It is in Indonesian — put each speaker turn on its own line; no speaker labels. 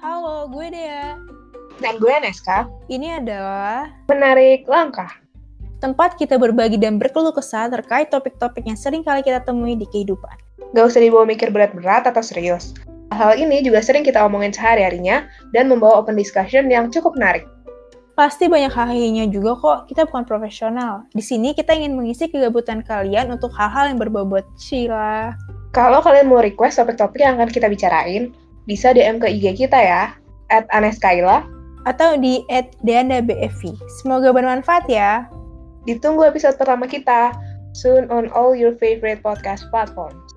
kalau gue deh ya.
Dan gue Neska.
Ini adalah
Menarik langkah.
tempat kita berbagi dan berkeluh kesah terkait topik-topik yang sering kali kita temui di kehidupan.
Gak usah dibawa mikir berat-berat atau serius. Hal ini juga sering kita omongin sehari-harinya dan membawa open discussion yang cukup menarik.
Pasti banyak hahinya juga kok, kita bukan profesional. Di sini kita ingin mengisi kegabutan kalian untuk hal-hal yang berbobot Sheila.
Kalau kalian mau request topik-topik yang akan kita bicarain, bisa DM ke IG kita ya, at aneskaila.
Atau di at Deanda BFV. Semoga bermanfaat ya.
Ditunggu episode pertama kita, soon on all your favorite podcast platforms.